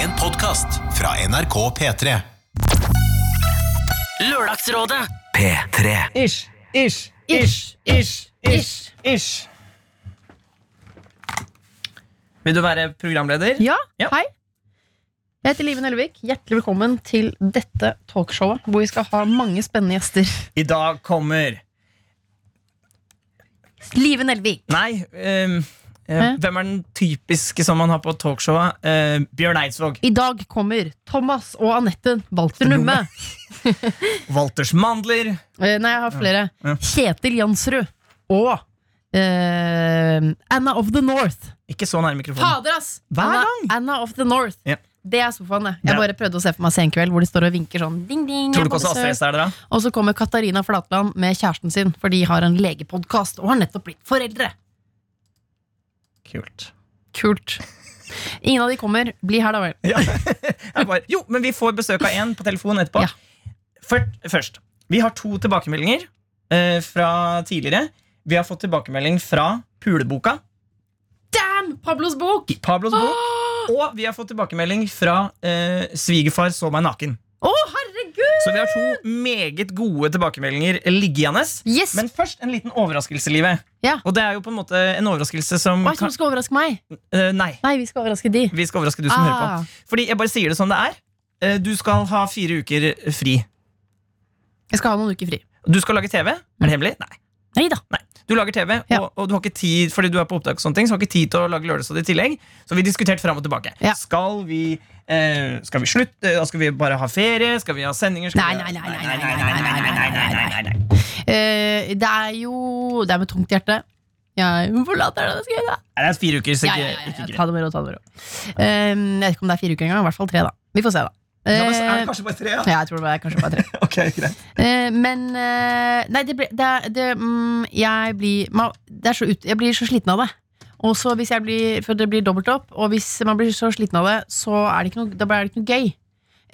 podkast fra NRK P3. Lørdagsrådet P3. Ish, ish, ish, ish, ish, ish. Vil du være programleder? Ja, Ja. hei. Jeg heter Liven Ellevik. Hjertelig velkommen til dette talkshowet, hvor vi skal ha mange spennende gjester. I dag kommer Liven Ellevik. Nei, ehm, eh, Hæ? hvem er den typiske som man har på talkshowet? Eh, Bjørn Eidsvåg. I dag kommer Thomas og Anette Walter Numme. Walters Mandler. Eh, nei, jeg har flere. Ja. Kjetil Jansrud. Og eh, Anna of the North. Ikke så nær mikrofonen. Fader, ass! Hver Anna, gang. Anna of the North. Ja. Det er sofaen, det. Jeg Ja. bare prøvde å se for meg Senkveld, hvor de står og vinker sånn. Ding, ding, Tror du jeg ikke må også Astrid besøke- S er det, da? Og så kommer Katarina Flatland med kjæresten sin, for de har en legepodkast og har nettopp blitt foreldre. Kult. Kult. Ingen av de kommer. Bli her, da vel. Ja. Jeg bare, jo, men vi får besøk av én på telefon etterpå. Ja. Før- først, vi har to tilbakemeldinger eh, fra tidligere. Vi har fått tilbakemelding fra Puleboka, Damn! Pablos bok! Pablos bok, Ah! og vi har fått tilbakemelding fra eh, Svigerfar så meg naken. Å, herregud! Så vi har to Mm. meget gode tilbakemeldinger liggende. Yes! Men først en liten overraskelse, Livet. Ja. Og det er jo på en måte en overraskelse som Hva er det kan, som skal overraske meg? eh, Nei, Nei, vi skal overraske de. vi skal overraske du som hører på. Ah. Fordi jeg bare sier det som det er. Eh, Du skal ha fire uker fri. Jeg skal ha noen uker fri. Du skal lage TV. Er det hemmelig? Nei. Nei da. Du lager TV, Ja. og, og du har ikke tid fordi du er på opptak, og sånne ting, så har ikke tid til å lage lørdagsråd i tillegg. Så vi diskuterte fram og tilbake. Ja. Skal vi eh, Skal vi slutte? Eh, Skal vi bare ha ferie? Skal vi ha sendinger? Skal Nei, vi ha- nei, nei, nei, nei, nei, nei, nei, nei, nei, nei, nei, nei, nei. Eh, det er jo Det er med tungt hjerte. Jeg forlater det, det skal jeg gjøre. Nei, Det er fire uker, så Ja, ikke, ja, ja, ja. ikke greit. Ta det med ro. ta det med ro Eh, Jeg vet ikke om det er fire uker engang. I hvert fall tre, da. Vi får se, da. Ja, men så er Eh, det kanskje bare tre, ja? ja, jeg tror det var kanskje bare tre. Ok, greit. Eh, men eh, Nei, det, ble, det, er- det mm, Jeg blir ma- det er så ut, Jeg blir så sliten av det. Og så hvis jeg blir For det blir dobbelt opp. Og hvis man blir så sliten av det, så er det ikke noe, da er det ikke noe gøy.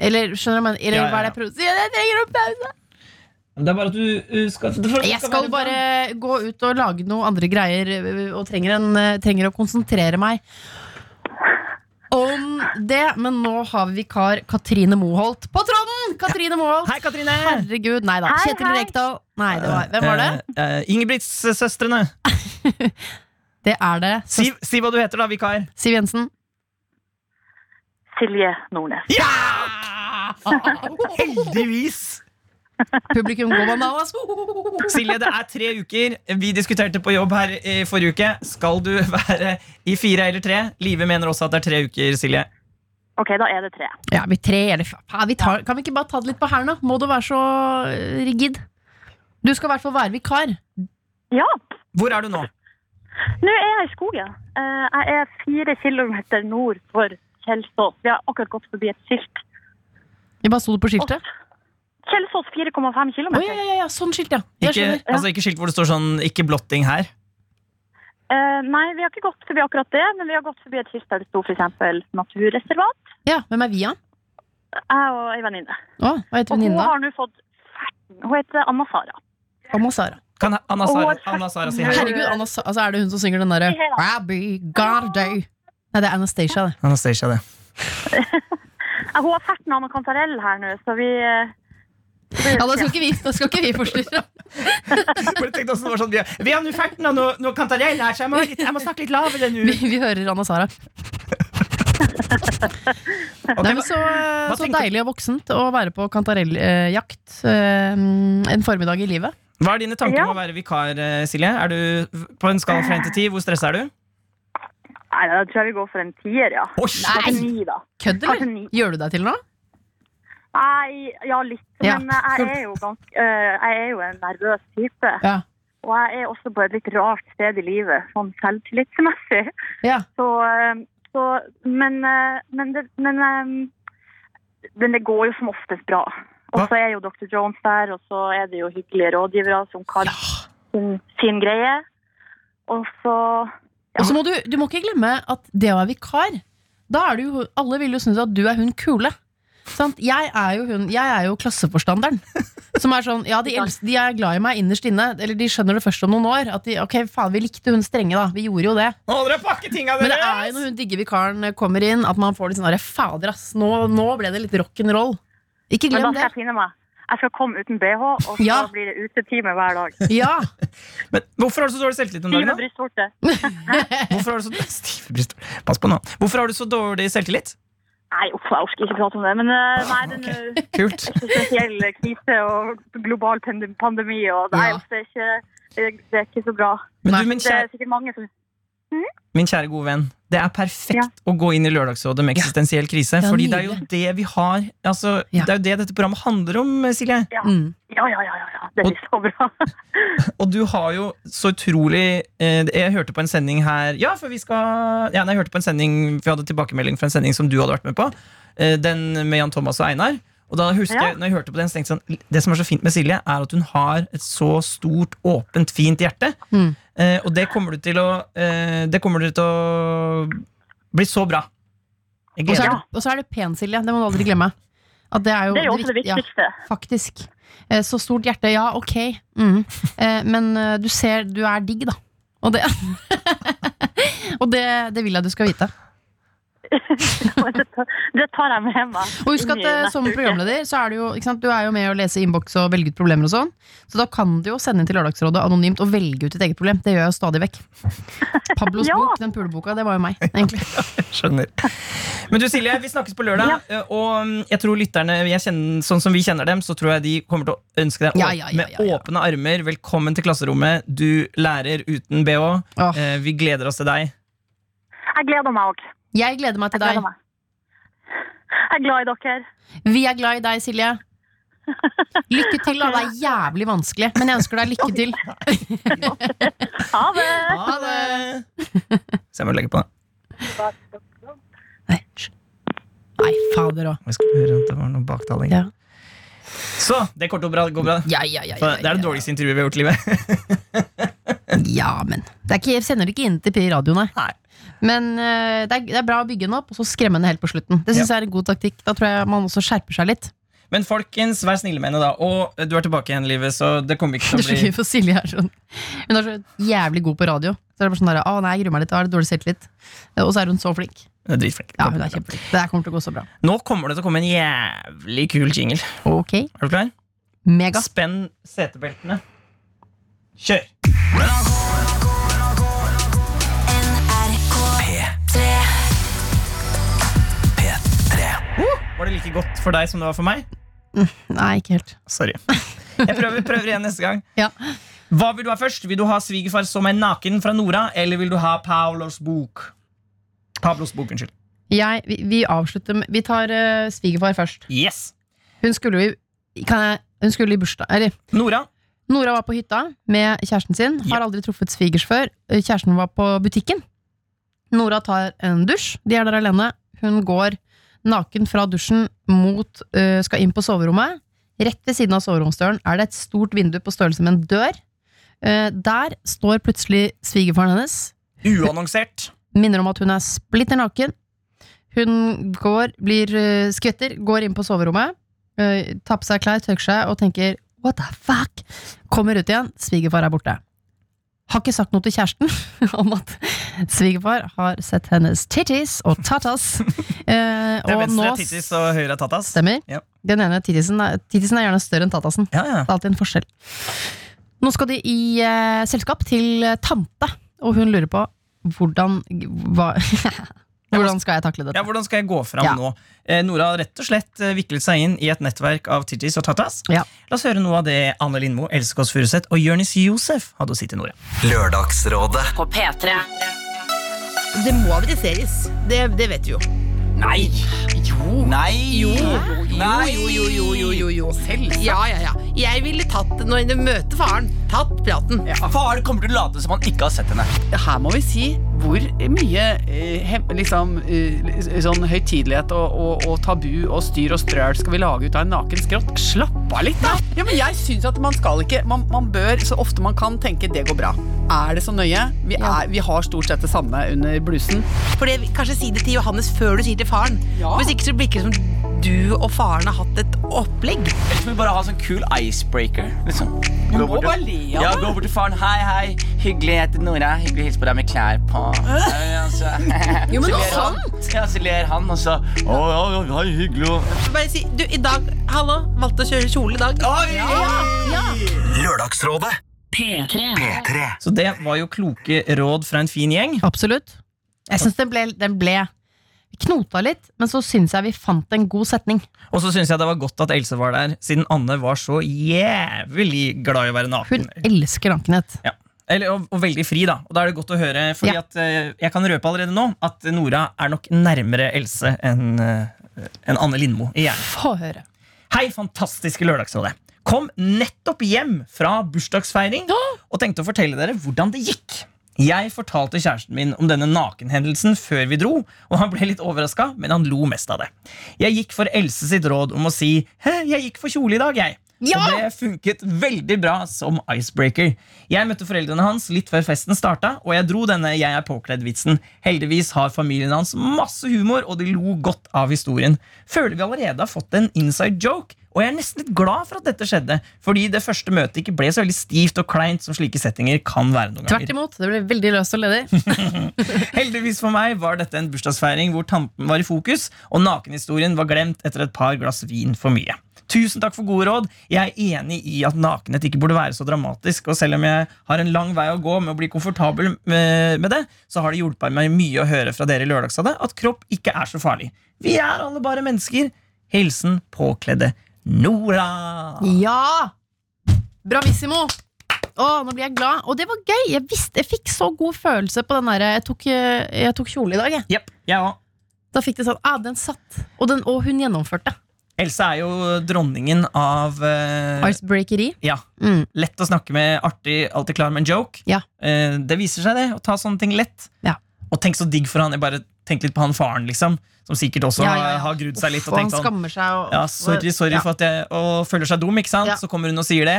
Eller skjønner du hva jeg mener? Eller Ja, ja, hva ja. er det jeg prøver å si? Jeg trenger en pause! Det er bare at du eh, skal det får- Jeg skal skal være- sånn. bare gå ut og lage noe andre greier eh, og trenger, en, eh, trenger å konsentrere meg om det. Men nå har vi vikar Katrine Moholt på tråden! Katrine Moholt! Hei, Katrine! Herregud, nei da. Hei, Kjetil hei. Rekdal. Nei, det var, hvem var det? Eh, eh, Ingebrigtssøstrene. Det er det. Si, si hva du heter, da, vikar. Siv Jensen. Silje Nordnes. Ja! Heldigvis! Publikum går bananas! Silje, det er tre uker. Vi diskuterte på jobb her i forrige uke. Skal du være i fire eller tre? Live mener også at det er tre uker, Silje. Ok, da er det tre. Ja, vi tre eller f- pa, vi tar, Kan vi ikke bare ta det litt på hælen, da? Må du være så eh, rigid? Du skal i hvert fall være vikar. Ja, Hvor er du nå? nå er jeg i skogen. Eh, Jeg er fire kilometer nord for Kjelsås. Vi har akkurat gått forbi et skilt. Jeg bare sto det på skiltet. Kjelsås 4,5 Å kilometer. ja, ja, ja, ja, sånn skilt, ja. Jeg Ikke, skjønner. altså, ikke skilt hvor det står sånn 'ikke blotting her'. Eh, Nei, vi har ikke gått forbi akkurat det, men vi har gått forbi et skilt der det sto f.eks. naturreservat. Ja, hvem er vi, da? Jeg og ei venninne. Å, hva heter Og hun venninna? har nå fått ferten. Hun heter Anna-Sara. Anna Sara. Kan Anna Sara, Å, Anna Sara si hei? herregud. Herregud, Anna Sara. Altså, er det hun som synger den derre Ja. Rabbi Garday? Nei, det er Anastacia, det. Anastasia, det. Eh, Hun har ferten Anna Cantarell her nå, så vi eh, Ja, da skal ikke vi, da skal ikke vi forstyrre. Bare tenkte også det var sånn, vi har- Vi har nå ferten, og nå, nå kantarell her, så jeg må, jeg må snakke litt lavere Vi, nå. vi hører Anna Sara. Ok, Nei, men så, så tenker- deilig og voksent å være på kantarelljakt eh, en formiddag i livet. Hva er dine tanker om Ja. å være vikar, eh, Silje? Er du På en skala fra 1 til 10, hvor stressa er du? Nei, da tror jeg vi går for en tier, ja. Oi, Kanskje ni, da. Kødd, Kanskje eller? ni. Gjør du deg til noe? Nei, ja litt. Ja. Men eh, jeg er jo ganske eh, Jeg er jo en nervøs type. Ja. Og jeg er også på et litt rart sted i livet, sånn selvtillitsmessig. Ja. Så, eh, så Men, eh, men, det, men, eh, men det går jo som oftest bra. Og Hva? så er jo Dr. Jones der, og så er det jo hyggelige rådgivere som kan sin, sin greie. Og så Og så må du, du må ikke glemme at det å være vikar Da er du jo Alle vil jo synes at du er hun kule. Sant? Jeg er jo hun Jeg er jo klasseforstanderen. Som er sånn, ja, de, els- de er glad i meg innerst inne, eller de skjønner det først om noen år. At de, ok, faen, vi likte hun strenge, da. Vi gjorde jo det. Nå holder dere å pakke tinga Men det deres! er jo når hun digger vikaren eh, kommer inn, at man får litt sånn derre fader, ass. Nå, nå ble det litt rock'n'roll. Ikke Men da glem skal det. jeg finne meg. Jeg skal komme uten BH, og så Ja. blir det utetime hver dag. Ja. Men hvorfor har du så dårlig selvtillit om Time dagen? med da? brystvorte. Hvorfor har du så Stive bryster. Pass på nå. Hvorfor har du så dårlig selvtillit? Nei, uff, jeg orker ikke prate om det. Men eh, Ah, nei, den eh, Kult. eksistensiell krise og global pande- pandemi og Nei, Ja. uff, det er ikke, det er- det er ikke så bra. Men Nei, du, min Det er kjære, sikkert mange som min kjære gode venn, det er perfekt å gå inn i Lørdagsrådet med eksistensiell krise. Ja, fordi det er jo det vi har altså, Ja. Det er jo det dette programmet handler om, Silje. Mm. Ja, ja, ja. ja, ja. Det blir så bra. Og du har jo så utrolig eh, Jeg hørte på en sending her Ja, for vi skal ja, nei, Jeg hørte på en sending Vi hadde tilbakemelding fra en sending som du hadde vært med på. eh, Den med Jan Thomas og Einar. Og da husker Ja. jeg, når jeg hørte på den, så tenkte jeg sånn Det som er så fint med Silje, er at hun har et så stort, åpent, fint hjerte. Mm. Eh, og det kommer du til å eh, Det kommer du til å bli så bra. Jeg Og, så gleder er meg. det, og så er det pen, Silje. Det må du aldri glemme. At det er jo Det er jo også det vikt- ja, viktigste. faktisk. Eh, Så stort hjerte, ja, ok. Mm. Eh, Men eh, du ser, du er digg, da. Og det, og det, det vil jeg du skal vite. Det tar- Det tar jeg med meg. Og husk at inn i eh, neste som uke. programleder så er du jo, ikke sant, du er jo med å lese innboks og velge ut problemer og sånn. Så da kan du jo sende inn til Lørdagsrådet anonymt og velge ut ditt eget problem. Det gjør jeg jo stadig vekk. Pablos Ja. bok, den puleboka, det var jo meg, egentlig. Skjønner. Men du Silje, vi snakkes på lørdag. eh, Og mm, jeg tror lytterne, jeg kjenner, sånn som vi kjenner dem, så tror jeg de kommer til å ønske deg å- Ja, ja, ja, ja, med ja. åpne armer. Velkommen til klasserommet. Du lærer uten bh. Åh. Eh, Vi gleder oss til deg. Jeg gleder meg òg. Jeg gleder meg Jeg til deg. gleder meg. Jeg er glad i dere. Vi er glad i deg, Silje. Lykke til, da. Det er jævlig vanskelig, men jeg ønsker deg lykke til. Ha det! Ha det! Så jeg må legge på. Nei, hysj. Nei, fader òg. Vi skal høre at det var noe baktaling. Ja. Så, det kommer til å bra- gå bra. Ja, ja, ja, ja, Det er det dårligste intervjuet vi har gjort i livet. Ja, men det er ikke, Jeg sender det ikke inn til P i radioen, nei. Nei. Men eh, det, er, det er bra å bygge den opp, og så skremme den helt på slutten. Det synes jeg er en god taktikk. Da tror jeg man også skjerper seg litt. Men folkens, vær snille med henne, da. Og eh, du er tilbake igjen i livet, så det kommer ikke til Det er å så bli gøy, for Silje er sånn Hun er så jævlig god på radio. Så er det bare sånn der, å nei, jeg gruer meg litt, da er det dårlig selvtillit. Og så er hun så flink. Dritflink. Ja, hun er kjempeflink. Det her kommer til å gå så bra. Nå kommer det til å komme en jævlig kul jingle. Ok, Er du klar? mega. Spenn setebeltene. Kjør! Uh, Var det like godt for deg som det var for meg? Nei, ikke helt. Sorry. Jeg prøver, prøver igjen neste gang. Ja. Hva Vil du ha først? Vil du ha svigerfar som er naken fra Nora, eller vil du ha Paulos bok? Pablos bok, unnskyld. Jeg, vi, vi avslutter med Vi tar eh, svigerfar først. Yes! Hun skulle jo i- kan jeg, Hun skulle i bursdag Eller Nora, Nora var på hytta med kjæresten sin. Har aldri truffet svigers før. Eh, Kjæresten var på butikken. Nora tar en dusj. De er der alene. Hun går naken fra dusjen mot øh, Skal inn på soverommet. Rett ved siden av soveromsdøren er det et stort vindu på størrelse med en dør. Eh, der står plutselig svigerfaren hennes uannonsert. minner om at hun er splitter naken. Hun går, blir eh, skvetter, går inn på soverommet, eh, tar på seg klær, tørker seg og tenker what the fuck? Kommer ut igjen, svigerfar er borte. Har ikke sagt noe til kjæresten om at svigerfar har sett hennes titties og tattas. eh, Det er og venstre nå er tittis og høyre er tattas. stemmer. Ja. Den ene tittisen er, tittisen er gjerne større enn tattasen. Ja, ja. Det er alltid en forskjell. Nå skal de i eh, selskap til eh, tante, og hun lurer på hvordan hva, Hvordan skal jeg takle Ja, dette? Hvordan skal jeg gå fram Ja. nå? Eh, Nora har rett og slett eh, viklet seg inn i et nettverk av tittis og tattas. Ja. La oss høre noe av det Anne Lindmo, Else Kåss Furuseth og Jonis Josef hadde å si til Nora. Lørdagsrådet. På P3. Det må adresseres. Det, det vet du jo. Nei! Jo! Nei! Jo! Nei! Jo, jo, jo, jo, jo, jo. Ja, ja, ja. Jeg ville tatt det når jeg møter faren. Tatt praten. Faren kommer til å late som han ikke har sett henne. her må vi si hvor mye eh, hem- liksom, eh, li- sånn høytidelighet og, og, og tabu og styr og strøl skal vi lage ut av en naken skrott? Slapp av litt, da! Ja, men jeg synes at Man skal ikke, man, man bør så ofte man kan tenke det går bra. Er det så nøye? Vi, er, vi har stort sett det samme under blusen. For det, kanskje si det til Johannes før du sier det til faren. Ja. Hvis ikke så blir det ikke som du og faren har hatt et opplegg. Ellers må vi bare ha sånn kul icebreaker. Liksom. Du Gå må bort bare til- le Ja, av det. gå bort til faren. Hei, hei. Hyggelig, jeg heter Nora. Hyggelig å hilse på deg med klær på. Ja, altså. Jo, men Så det ler er han. Ja, så ler han, og så Å, ja, ja, hei, hyggelig. og- Så Bare si du, i dag Hallo, valgte å kjøre kjole i dag. Oi! Lørdagsrådet. P3. Så det var jo kloke råd fra en fin gjeng. Absolutt. Jeg syns den ble, den ble vi knota litt, men så syns jeg vi fant en god setning. Og så syns jeg det var godt at Else var der, siden Anne var så jævlig glad i å være Hun naken. elsker nakenhet. Ja. Eller, og, og veldig fri, da. Og da er det godt å høre, fordi Ja. at eh, jeg kan røpe allerede nå at Nora er nok nærmere Else enn eh, enn Anne Lindmo i hjernen. Få høre. Hei, fantastiske Lørdagsrådet. Kom nettopp hjem fra bursdagsfeiring og tenkte å fortelle dere hvordan det gikk. Jeg fortalte kjæresten min om denne nakenhendelsen før vi dro, og han ble litt overraska, men han lo mest av det. Jeg gikk for Else sitt råd om å si «Hæ, 'jeg gikk for kjole i dag', jeg. Ja! Og det funket veldig bra som icebreaker. Jeg møtte foreldrene hans litt før festen starta, og jeg dro denne 'jeg er påkledd'-vitsen. Heldigvis har familien hans masse humor, og de lo godt av historien. Føler vi allerede har fått en inside joke, og jeg er nesten litt glad for at dette skjedde, fordi det første møtet ikke ble så veldig stivt og kleint som slike settinger kan være noen ganger. Tvert imot. Det ble veldig løst og ledig. Heldigvis for meg var dette en bursdagsfeiring hvor tanten var i fokus, og nakenhistorien var glemt etter et par glass vin for mye. Tusen takk for gode råd. Jeg er enig i at nakenhet ikke burde være så dramatisk, og selv om jeg har en lang vei å gå med å bli komfortabel med, med det, så har det hjulpet meg mye å høre fra dere i Lørdagsrådet at kropp ikke er så farlig. Vi er alle bare mennesker. Hilsen påkledde Nora. Ja! Bravissimo! Å, nå blir jeg glad. Og det var gøy! Jeg visste, jeg fikk så god følelse på den derre jeg, tok, eh, jeg tok kjole i dag, jeg. Jepp, jeg òg. Da fikk det sånn ah, den satt. Og, den, og hun gjennomførte. Else er jo dronningen av eh, Icebreakeri. Ja, Mm. lett å snakke med, artig, alltid klar med en joke. Ja. Eh, det viser seg, det. Å ta sånne ting lett. Ja. Og tenk så digg for han. Jeg bare tenker litt på han faren, liksom. Som sikkert også Ja, ja, ja. har- har grudd seg litt. Uff, Og tenkt han sånn skammer seg. Og, ja, Sorry, sorry Ja. for at jeg Og føler seg dum, ikke sant? Ja. Så kommer hun og sier det.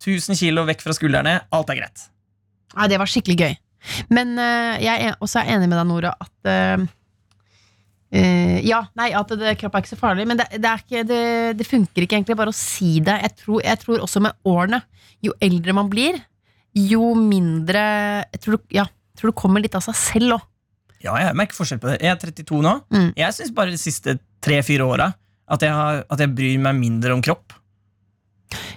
1000 kilo vekk fra skuldrene. Alt er greit. Nei, det var skikkelig gøy. Men eh, jeg er også er enig med deg, Nora, at eh, eh, Ja, nei, at det, kropp er ikke så farlig, men det, det, er ikke, det, det funker ikke egentlig bare å si det. Jeg tror, jeg tror også med årene, jo eldre man blir, jo mindre Jeg tror, du- ja, jeg tror det kommer litt av seg selv òg. Ja, jeg merker forskjell på det. Jeg er 32 nå. Mm. Jeg syns bare de siste tre-fire åra at, jeg har- at jeg bryr meg mindre om kropp.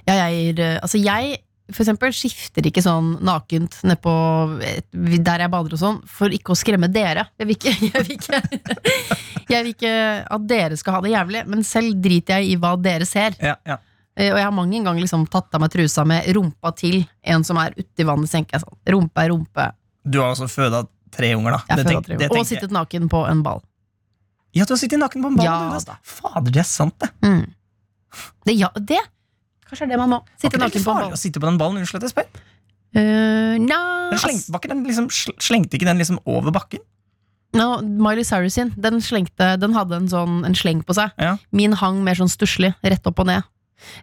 Ja, jeg, er, eh, altså jeg for eksempel skifter ikke sånn nakent ned på et- der jeg bader og sånn, for ikke å skremme dere. Jeg vil ikke, jeg vil ikke, jeg vil ikke at dere skal ha det jævlig, men selv driter jeg i hva dere ser. Ja, ja. Eh, Og jeg har mange ganger liksom tatt av meg trusa med rumpa til en som er uti vannet. Så tenker jeg sånn, rumpe er rumpe. Du har også føda tre unger, da. Jeg Det føler tenk- at det- det og tenker jeg. sittet naken på en ball. Ja, du har sittet naken på en ball. Ja, du, altså. Fader, det er sant, det. Mm. Det, ja, det Kanskje er det man må. Sitte Var ikke det naken litt på en farlig ball. å sitte på den ballen? Unnskyld at jeg spør. Uh, Den sleng, var ikke den liksom, sl- slengte ikke den liksom over bakken? No, Miley Cyrus sin, den, slengte, den hadde en, sånn, en sleng på seg. Ja. Min hang mer sånn stusslig, rett opp og ned.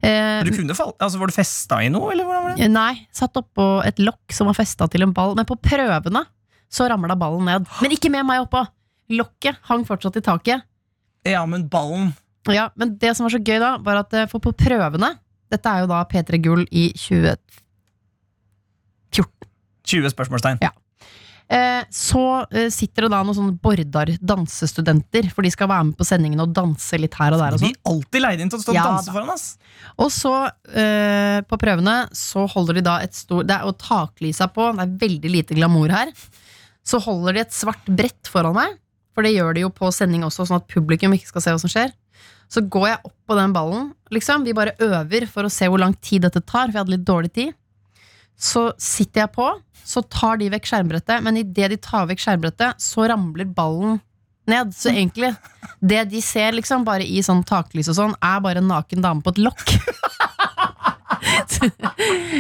Eh, Du kunne fall, altså, var du festa i noe, eller hvordan var det? nei, satt oppå et lokk som var festa til en ball, men på prøvene så ramla ballen ned. Men ikke med meg oppå! Lokket hang fortsatt i taket. Ja, men ballen Ja, men det som var så gøy da, var at eh, for på prøvene Dette er jo da P3 Gull i 20... 20 spørsmålstegn. Ja. Eh, så eh, sitter det da noen sånne Bordar dansestudenter, for de skal være med på sendingen og danse litt her og der. Og sånn. De alltid leid inn til å stå og Ja, danse da. foran oss! Og så, eh, på prøvene, så holder de da et stort Det er jo taklysa på, det er veldig lite glamour her. Så holder de et svart brett foran meg, for det gjør de jo på sending også, sånn at publikum ikke skal se hva som skjer. Så går jeg opp på den ballen, liksom. Vi bare øver for å se hvor lang tid dette tar, for jeg hadde litt dårlig tid. Så sitter jeg på, så tar de vekk skjermbrettet, men idet de tar vekk skjermbrettet, så ramler ballen ned. Så egentlig, det de ser liksom bare i sånn taklys og sånn, er bare en naken dame på et lokk. Så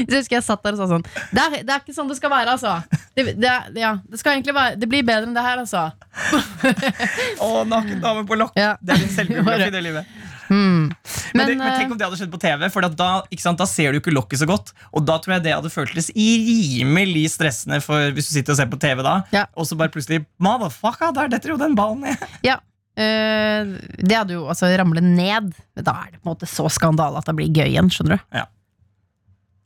husker jeg satt der og sa sånn Det er, det er ikke sånn det skal være, altså. Det, det, er- ja, det skal egentlig være Det blir bedre enn det her, altså. Å, naken dame på lokk! Ja. Det er din selvbiografi, det livet. Hmm. Men, Men, det, men tenk om det hadde skjedd på TV, for at da, ikke sant, da ser du ikke lokket så godt. Og da tror jeg det hadde føltes rimelig stressende for hvis du sitter og ser på TV da, Ja. og så bare plutselig Motherfucka, der detter jo den ballen ned! eh, ja, Eh, det hadde jo altså ramlet ned. Men da er det på en måte så skandale at det blir gøy igjen, skjønner du. Ja.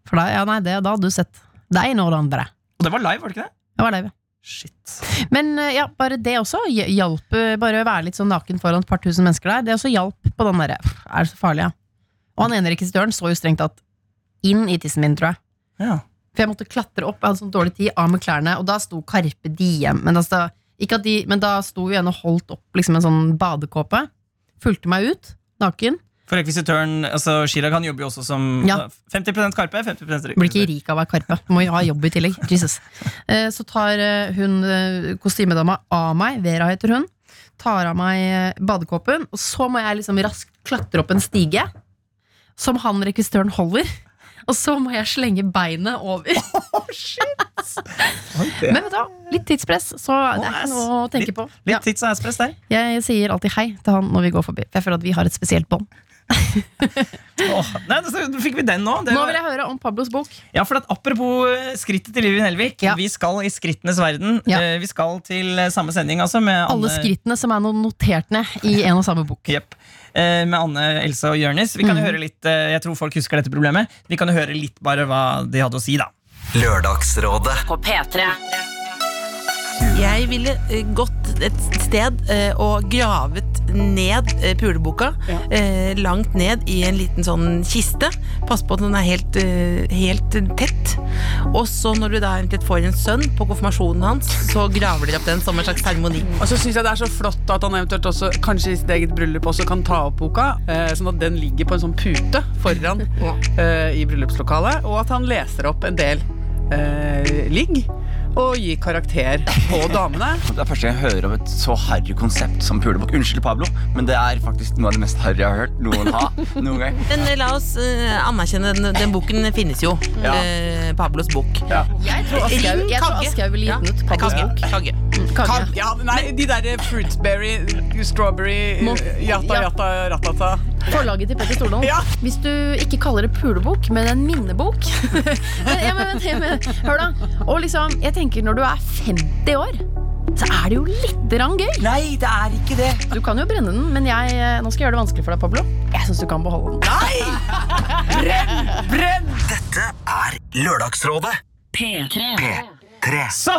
For da, ja, nei, det, da hadde du sett deg nå, andre. Og det var live, var det ikke det? Det var det. Shit. Men eh, ja, bare det også hj- hjalp. eh, Bare å være litt sånn naken foran et par tusen mennesker der. Det også hjalp på den derre «Pff, Er det så farlig, ja? Og han ene rekvisitøren så jo strengt tatt inn i tissen min, tror jeg. Ja. For jeg måtte klatre opp, jeg hadde sånn dårlig tid, av med klærne, og da sto Karpe Diem. Men, altså, ikke at de, men da sto jo en og holdt opp liksom en sånn badekåpe. Fulgte meg ut, naken. For rekvisitøren, altså Chirag, han jobber jo også som Ja. 50 Karpe, 50 rekvisitør. Blir ikke rik av å være Karpe. Må jo ha jobb i tillegg. Jesus. Eh, Så tar eh, hun eh, kostymedama av meg, Vera heter hun, tar av meg eh, badekåpen, og så må jeg liksom raskt klatre opp en stige som han rekvisitøren holder. Og så må jeg slenge beinet over. Men vet du hva, litt tidspress, så det er ikke noe å tenke på. Ja. Litt tids og ass-press der. Jeg sier alltid hei til han når vi går forbi. For jeg føler at vi har et spesielt bånd. Åh, nei, så fikk vi den nå. Det Nå var- vil jeg høre om Pablos bok. Ja, for at Apropos eh, skrittet til Liv Helvik. Ja. Vi skal i skrittenes verden. Ja. Eh, Vi skal til eh, samme sending, altså. Med Alle Anne- skrittene som er no- notert ned i en og samme bok. Jepp. Eh, Med Anne, Else og Jørnis. Vi kan jo Mhm. høre litt eh, Jeg tror folk husker dette problemet. Vi kan jo høre litt bare hva de hadde å si, da. Lørdagsrådet. På P3. Jeg ville eh, gått et sted eh, og gravet ned eh, puleboka. eh, langt ned i en liten sånn kiste. Pass på at den er helt, eh, helt tett. Og så når du da eventuelt får en sønn på konfirmasjonen hans, så graver dere opp den som en slags seremoni. Og så syns jeg det er så flott at han eventuelt også kanskje i sitt eget bryllup også kan ta opp boka, eh, sånn at den ligger på en sånn pute foran eh, i bryllupslokalet, og at han leser opp en del eh, ligg og gir karakter på damene. Det er første gang jeg hører om et så harry konsept som pulebukk. Unnskyld, Pablo, men det er faktisk noe av det mest harry jeg har hørt noen ha. noen gang. Men eh, la oss eh, anerkjenne den, den boken finnes jo. Ja. Eh, Pablos bok. Jeg tror Aschehoug- jeg tror Aschehoug ville gitt den ut. Pablos Kagge. bok. Kagge. Kan, Kagge. ja, nei, de derre fruitsberry, strawberry, Må- jata, ja. jata, ratata. Forlaget til Petter Stordalen. Ja. Hvis du ikke kaller det pulebok, men en minnebok men, ja, men, men, men, Hør, da. Og liksom, jeg tenker når du er 50 år, så er det jo lite grann gøy. Nei, det er ikke det! Du kan jo brenne den, men jeg, eh, nå skal jeg gjøre det vanskelig for deg, Pablo. Jeg syns du kan beholde den. Dette er Lørdagsrådet. P3. Så!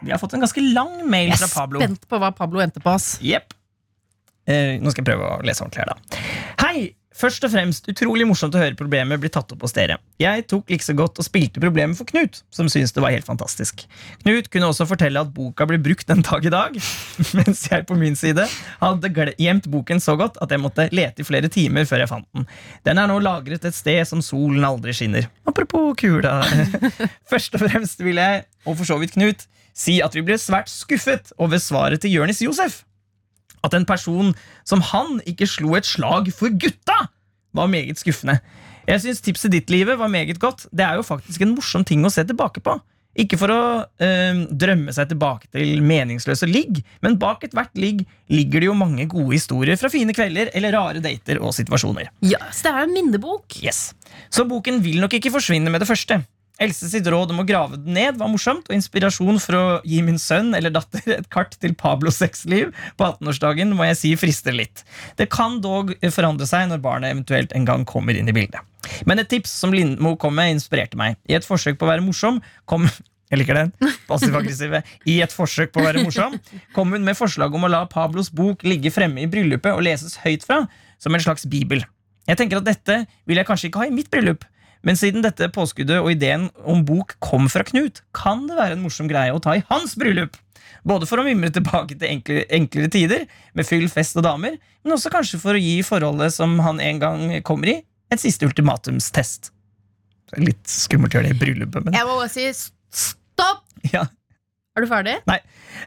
Vi har fått en ganske lang mail Jeg fra er Pablo. spent på hva Pablo endte på. ass Jepp. Eh, nå skal jeg prøve å lese ordentlig her, da. Hei! Først og fremst utrolig morsomt å høre problemet bli tatt opp hos dere. Jeg tok like så godt og spilte problemet for Knut, som syntes det var helt fantastisk. Knut kunne også fortelle at boka blir brukt den dag i dag, mens jeg på min side hadde gle- gjemt boken så godt at jeg måtte lete i flere timer før jeg fant den. Den er nå lagret et sted som solen aldri skinner. Apropos kula. Først og fremst vil jeg, og for så vidt Knut, si at vi ble svært skuffet over svaret til Jørnis Josef. At en person som han ikke slo et slag for gutta, var meget skuffende. Jeg syns tipset ditt, livet, var meget godt. Det er jo faktisk en morsom ting å se tilbake på. Ikke for å eh, drømme seg tilbake til meningsløse ligg, men bak ethvert ligg ligger det jo mange gode historier fra fine kvelder eller rare dater og situasjoner. Ja, så det er jo en minnebok. Yes. Så boken vil nok ikke forsvinne med det første. Else sitt råd om å grave den ned var morsomt, og inspirasjon for å gi min sønn eller datter et kart til Pablos sexliv på 18-årsdagen må jeg si frister litt. Det kan dog forandre seg når barnet eventuelt en gang kommer inn i bildet. Men et tips som Lindmo kom med, inspirerte meg. I et forsøk på å være morsom kom jeg liker den. Passiv-aggressive. I et forsøk på å være morsom kom hun med forslag om å la Pablos bok ligge fremme i bryllupet og leses høyt fra, som en slags bibel. Jeg tenker at dette vil jeg kanskje ikke ha i mitt bryllup, men siden dette påskuddet og ideen om bok kom fra Knut, kan det være en morsom greie å ta i hans bryllup. Både for å mimre tilbake til enkle, enklere tider, med fyll, fest og damer, men også kanskje for å gi forholdet som han en gang kommer i, et siste ultimatumstest. Det er Litt skummelt å gjøre det i bryllupet, men Jeg må bare si s- stopp! ja. Er du ferdig?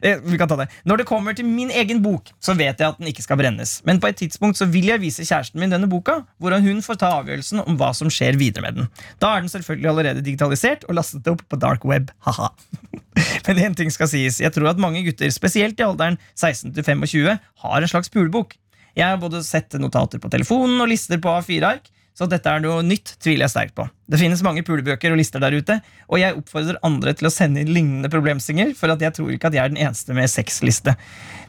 Eh, Vi kan ta det. Når det kommer til min egen bok, så vet jeg at den ikke skal brennes. Men på et tidspunkt så vil jeg vise kjæresten min denne boka, hvordan hun får ta avgjørelsen om hva som skjer videre med den. Da er den selvfølgelig allerede digitalisert og lastet opp på dark web. Haha. Men én ting skal sies. Jeg tror at mange gutter, spesielt i alderen 16-25, har en slags pulebok. Jeg har både sett notater på telefonen og lister på A4-ark, Så at dette er noe nytt, tviler jeg sterkt på. Det finnes mange pulebøker og lister der ute, og jeg oppfordrer andre til å sende inn lignende problemstillinger, for at jeg tror ikke at jeg er den eneste med sexliste.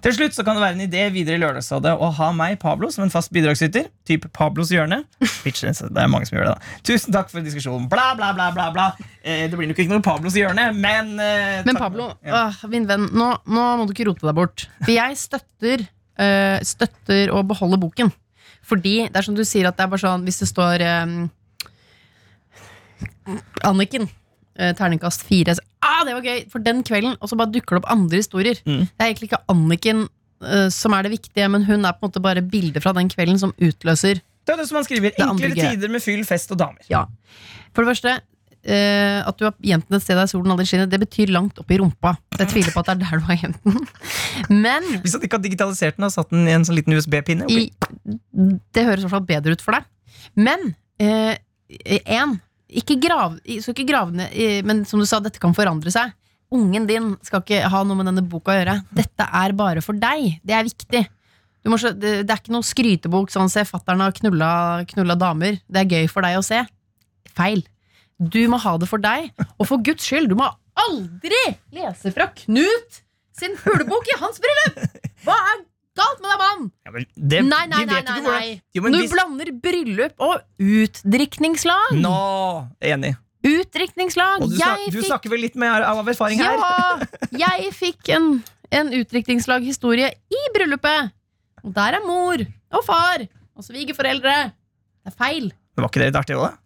Til slutt så kan det være en idé videre i Lørdagsrådet å ha meg, Pablo, som en fast bidragsyter. Typ Pablos hjørne. Bitch, det er mange som gjør det, da. Tusen takk for diskusjonen. Bla, bla, bla, bla. bla. Eh, det blir nok ikke noe Pablos hjørne, men eh, Men takk- Pablo, Ja. åh, min venn, nå, nå må du ikke rote deg bort. For jeg støtter, eh, støtter å beholde boken. Fordi det er som du sier at det er bare sånn Hvis det står eh, Anniken, eh, terningkast fire så, ah, Det var gøy! For den kvelden, og så bare dukker det opp andre historier. Mm. Det er egentlig ikke Anniken eh, som er det viktige, men hun er på en måte bare bildet fra den kvelden som utløser Det er det som han skriver. er andre Enklere gøy. tider med fyll, fest og damer. Ja. For det første, eh, at du har jenten et sted der solen aldri skinner, det betyr langt opp i rumpa. Så Jeg tviler på at det er der du har jenten. Men Hvis han ikke har digitalisert den og satt den i en sånn liten USB-pinne. ok. i, det høres i hvert fall bedre ut for deg. Men eh, en, ikke grav, i- så ikke grav ned, i- men som du sa, dette kan forandre seg. Ungen din skal ikke ha noe med denne boka å gjøre. Dette er bare for deg. Det er viktig. Du må, skjø- det, det er ikke noe skrytebok sånn se fattern har knulla, knulla damer. Det er gøy for deg å se. Feil. Du må ha det for deg. Og for guds skyld, du må aldri lese fra Knut sin hulebok i hans bryllup! Hva er galt med deg, mann? Ja, men det, Nei, nei, vi nei. vet nei, ikke hvordan- nei. Jo, men du hvis- blander bryllup og utdrikningslag. Nå! Enig. Utdrikningslag. Og du, snak, Jeg du fikk, snakker vel litt mer av erfaring her? ja, jeg fikk en, en utdrikningslaghistorie i bryllupet. Og der er mor og far og svigerforeldre. Det er feil. Det var ikke det litt artig òg, da?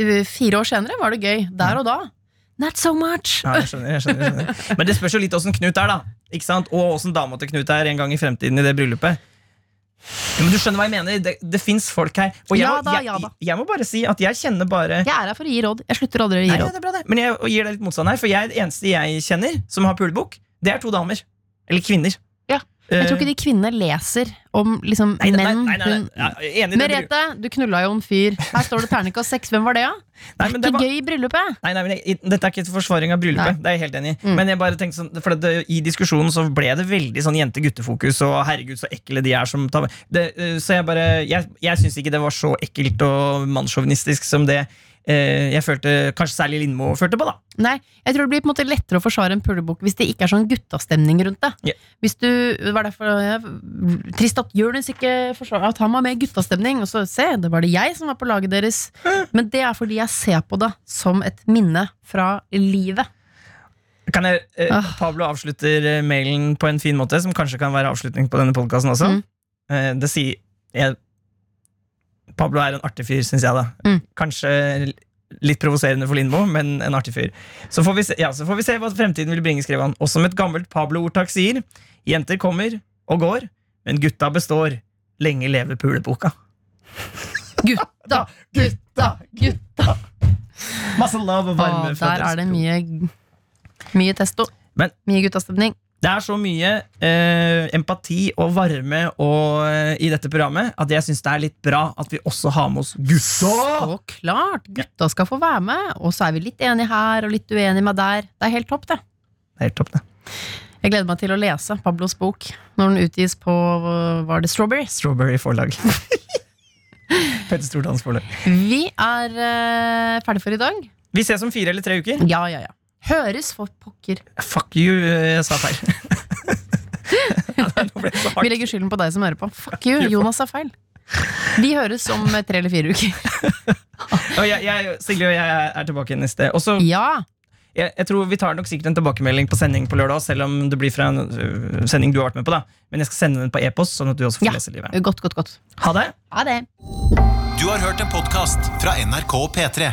Uh, Fire år senere var det gøy. Der og da. Not so much. Ja, jeg skjønner, jeg skjønner, jeg skjønner. Men det spørs jo litt åssen Knut er, da. Ikke sant? Og åssen dama til Knut er en gang i fremtiden i det bryllupet. Ja, men du skjønner hva jeg mener. Det, det fins folk her. Og jeg, Ja må- da, jeg, ja da. jeg må bare si at jeg kjenner bare Jeg er her for å gi råd. Jeg slutter aldri å Nei, ja, gi råd. det er bra det. Men jeg gir deg litt motstand her, for jeg, det eneste jeg kjenner som har pulebok, det er to damer. Eller kvinner. Ja. Jeg tror ikke de kvinnene leser om liksom, Nei, nei, menn nei, nei, hun nei, nei, enig i det. Merete, du knulla jo en fyr. Her står det terningkast seks. Hvem var det, da? Nei, Det men er det ikke var, gøy i bryllupet. Nei, nei, men jeg, Dette er ikke til forsvaring av bryllupet. Det er jeg helt enig i. Mm. Men jeg bare tenkte sånn, for det, i diskusjonen så ble det veldig sånn jente-guttefokus, og herregud, så ekle de er som tar det, eh, Så jeg bare Jeg, jeg syns ikke det var så ekkelt og mannssjåvinistisk som det eh, jeg følte kanskje særlig Lindmo følte på, da. Nei, jeg tror det blir på en måte lettere å forsvare en pulebok hvis det ikke er sånn guttastemning rundt det. Ja. Hvis du, det var derfor ja, Trist at Jonis ikke forsvarer at han var med i guttastemning. Og så se, det var det jeg som var på laget deres. Men det er fordi jeg ser på det som et minne fra livet. Kan jeg, eh, Ah. Pablo avslutter eh, mailen på en fin måte, som kanskje kan være avslutning på denne podkasten også. Mm. Eh, det sier jeg, Pablo er en artig fyr, syns jeg. da Mm. Kanskje l- litt provoserende for Lindmo, men en artig fyr. Så får vi se, ja, så får vi se hva fremtiden vil bringe, skrev han. Og som et gammelt Pablo-ordtak sier, jenter kommer og går, men gutta består. Lenge leve puleboka. Gutta, gutta, gutta! Masse love og varme. Å, fra der dere. er det mye, mye testo. Men- mye guttastemning. Det er så mye eh, empati og varme og, eh, i dette programmet at jeg syns det er litt bra at vi også har med oss gutta! Så klart! Gutta skal få være med, og så er vi litt enige her og litt uenige med der. Det er helt topp, det. Det er helt topp, det. Jeg gleder meg til å lese Pablos bok når den utgis på øh, Var det Strawberries? Strawberry forlag. Petter Stordalens forlag. Vi er øh, ferdig for i dag. Vi ses om fire eller tre uker. Ja, ja, ja. Høres for pokker. Fuck you, eh, jeg sa feil. Ja, nei, nå ble det så Vi hardt. legger skylden på deg som hører på. Fuck you, Jonas sa feil. Vi høres om eh, tre eller fire uker. Og jeg, jeg, Silje og jeg er tilbake neste. Og så Ja! jeg, jeg tror Vi tar nok sikkert en tilbakemelding på sending på lørdag, selv om det blir fra en øh, sending du har vært med på. da Men jeg skal sende den på e-post, sånn at du også får Ja. lese livet. Godt, godt, godt. Ha det! Ha det. Du har hørt en podcast fra NRK P3.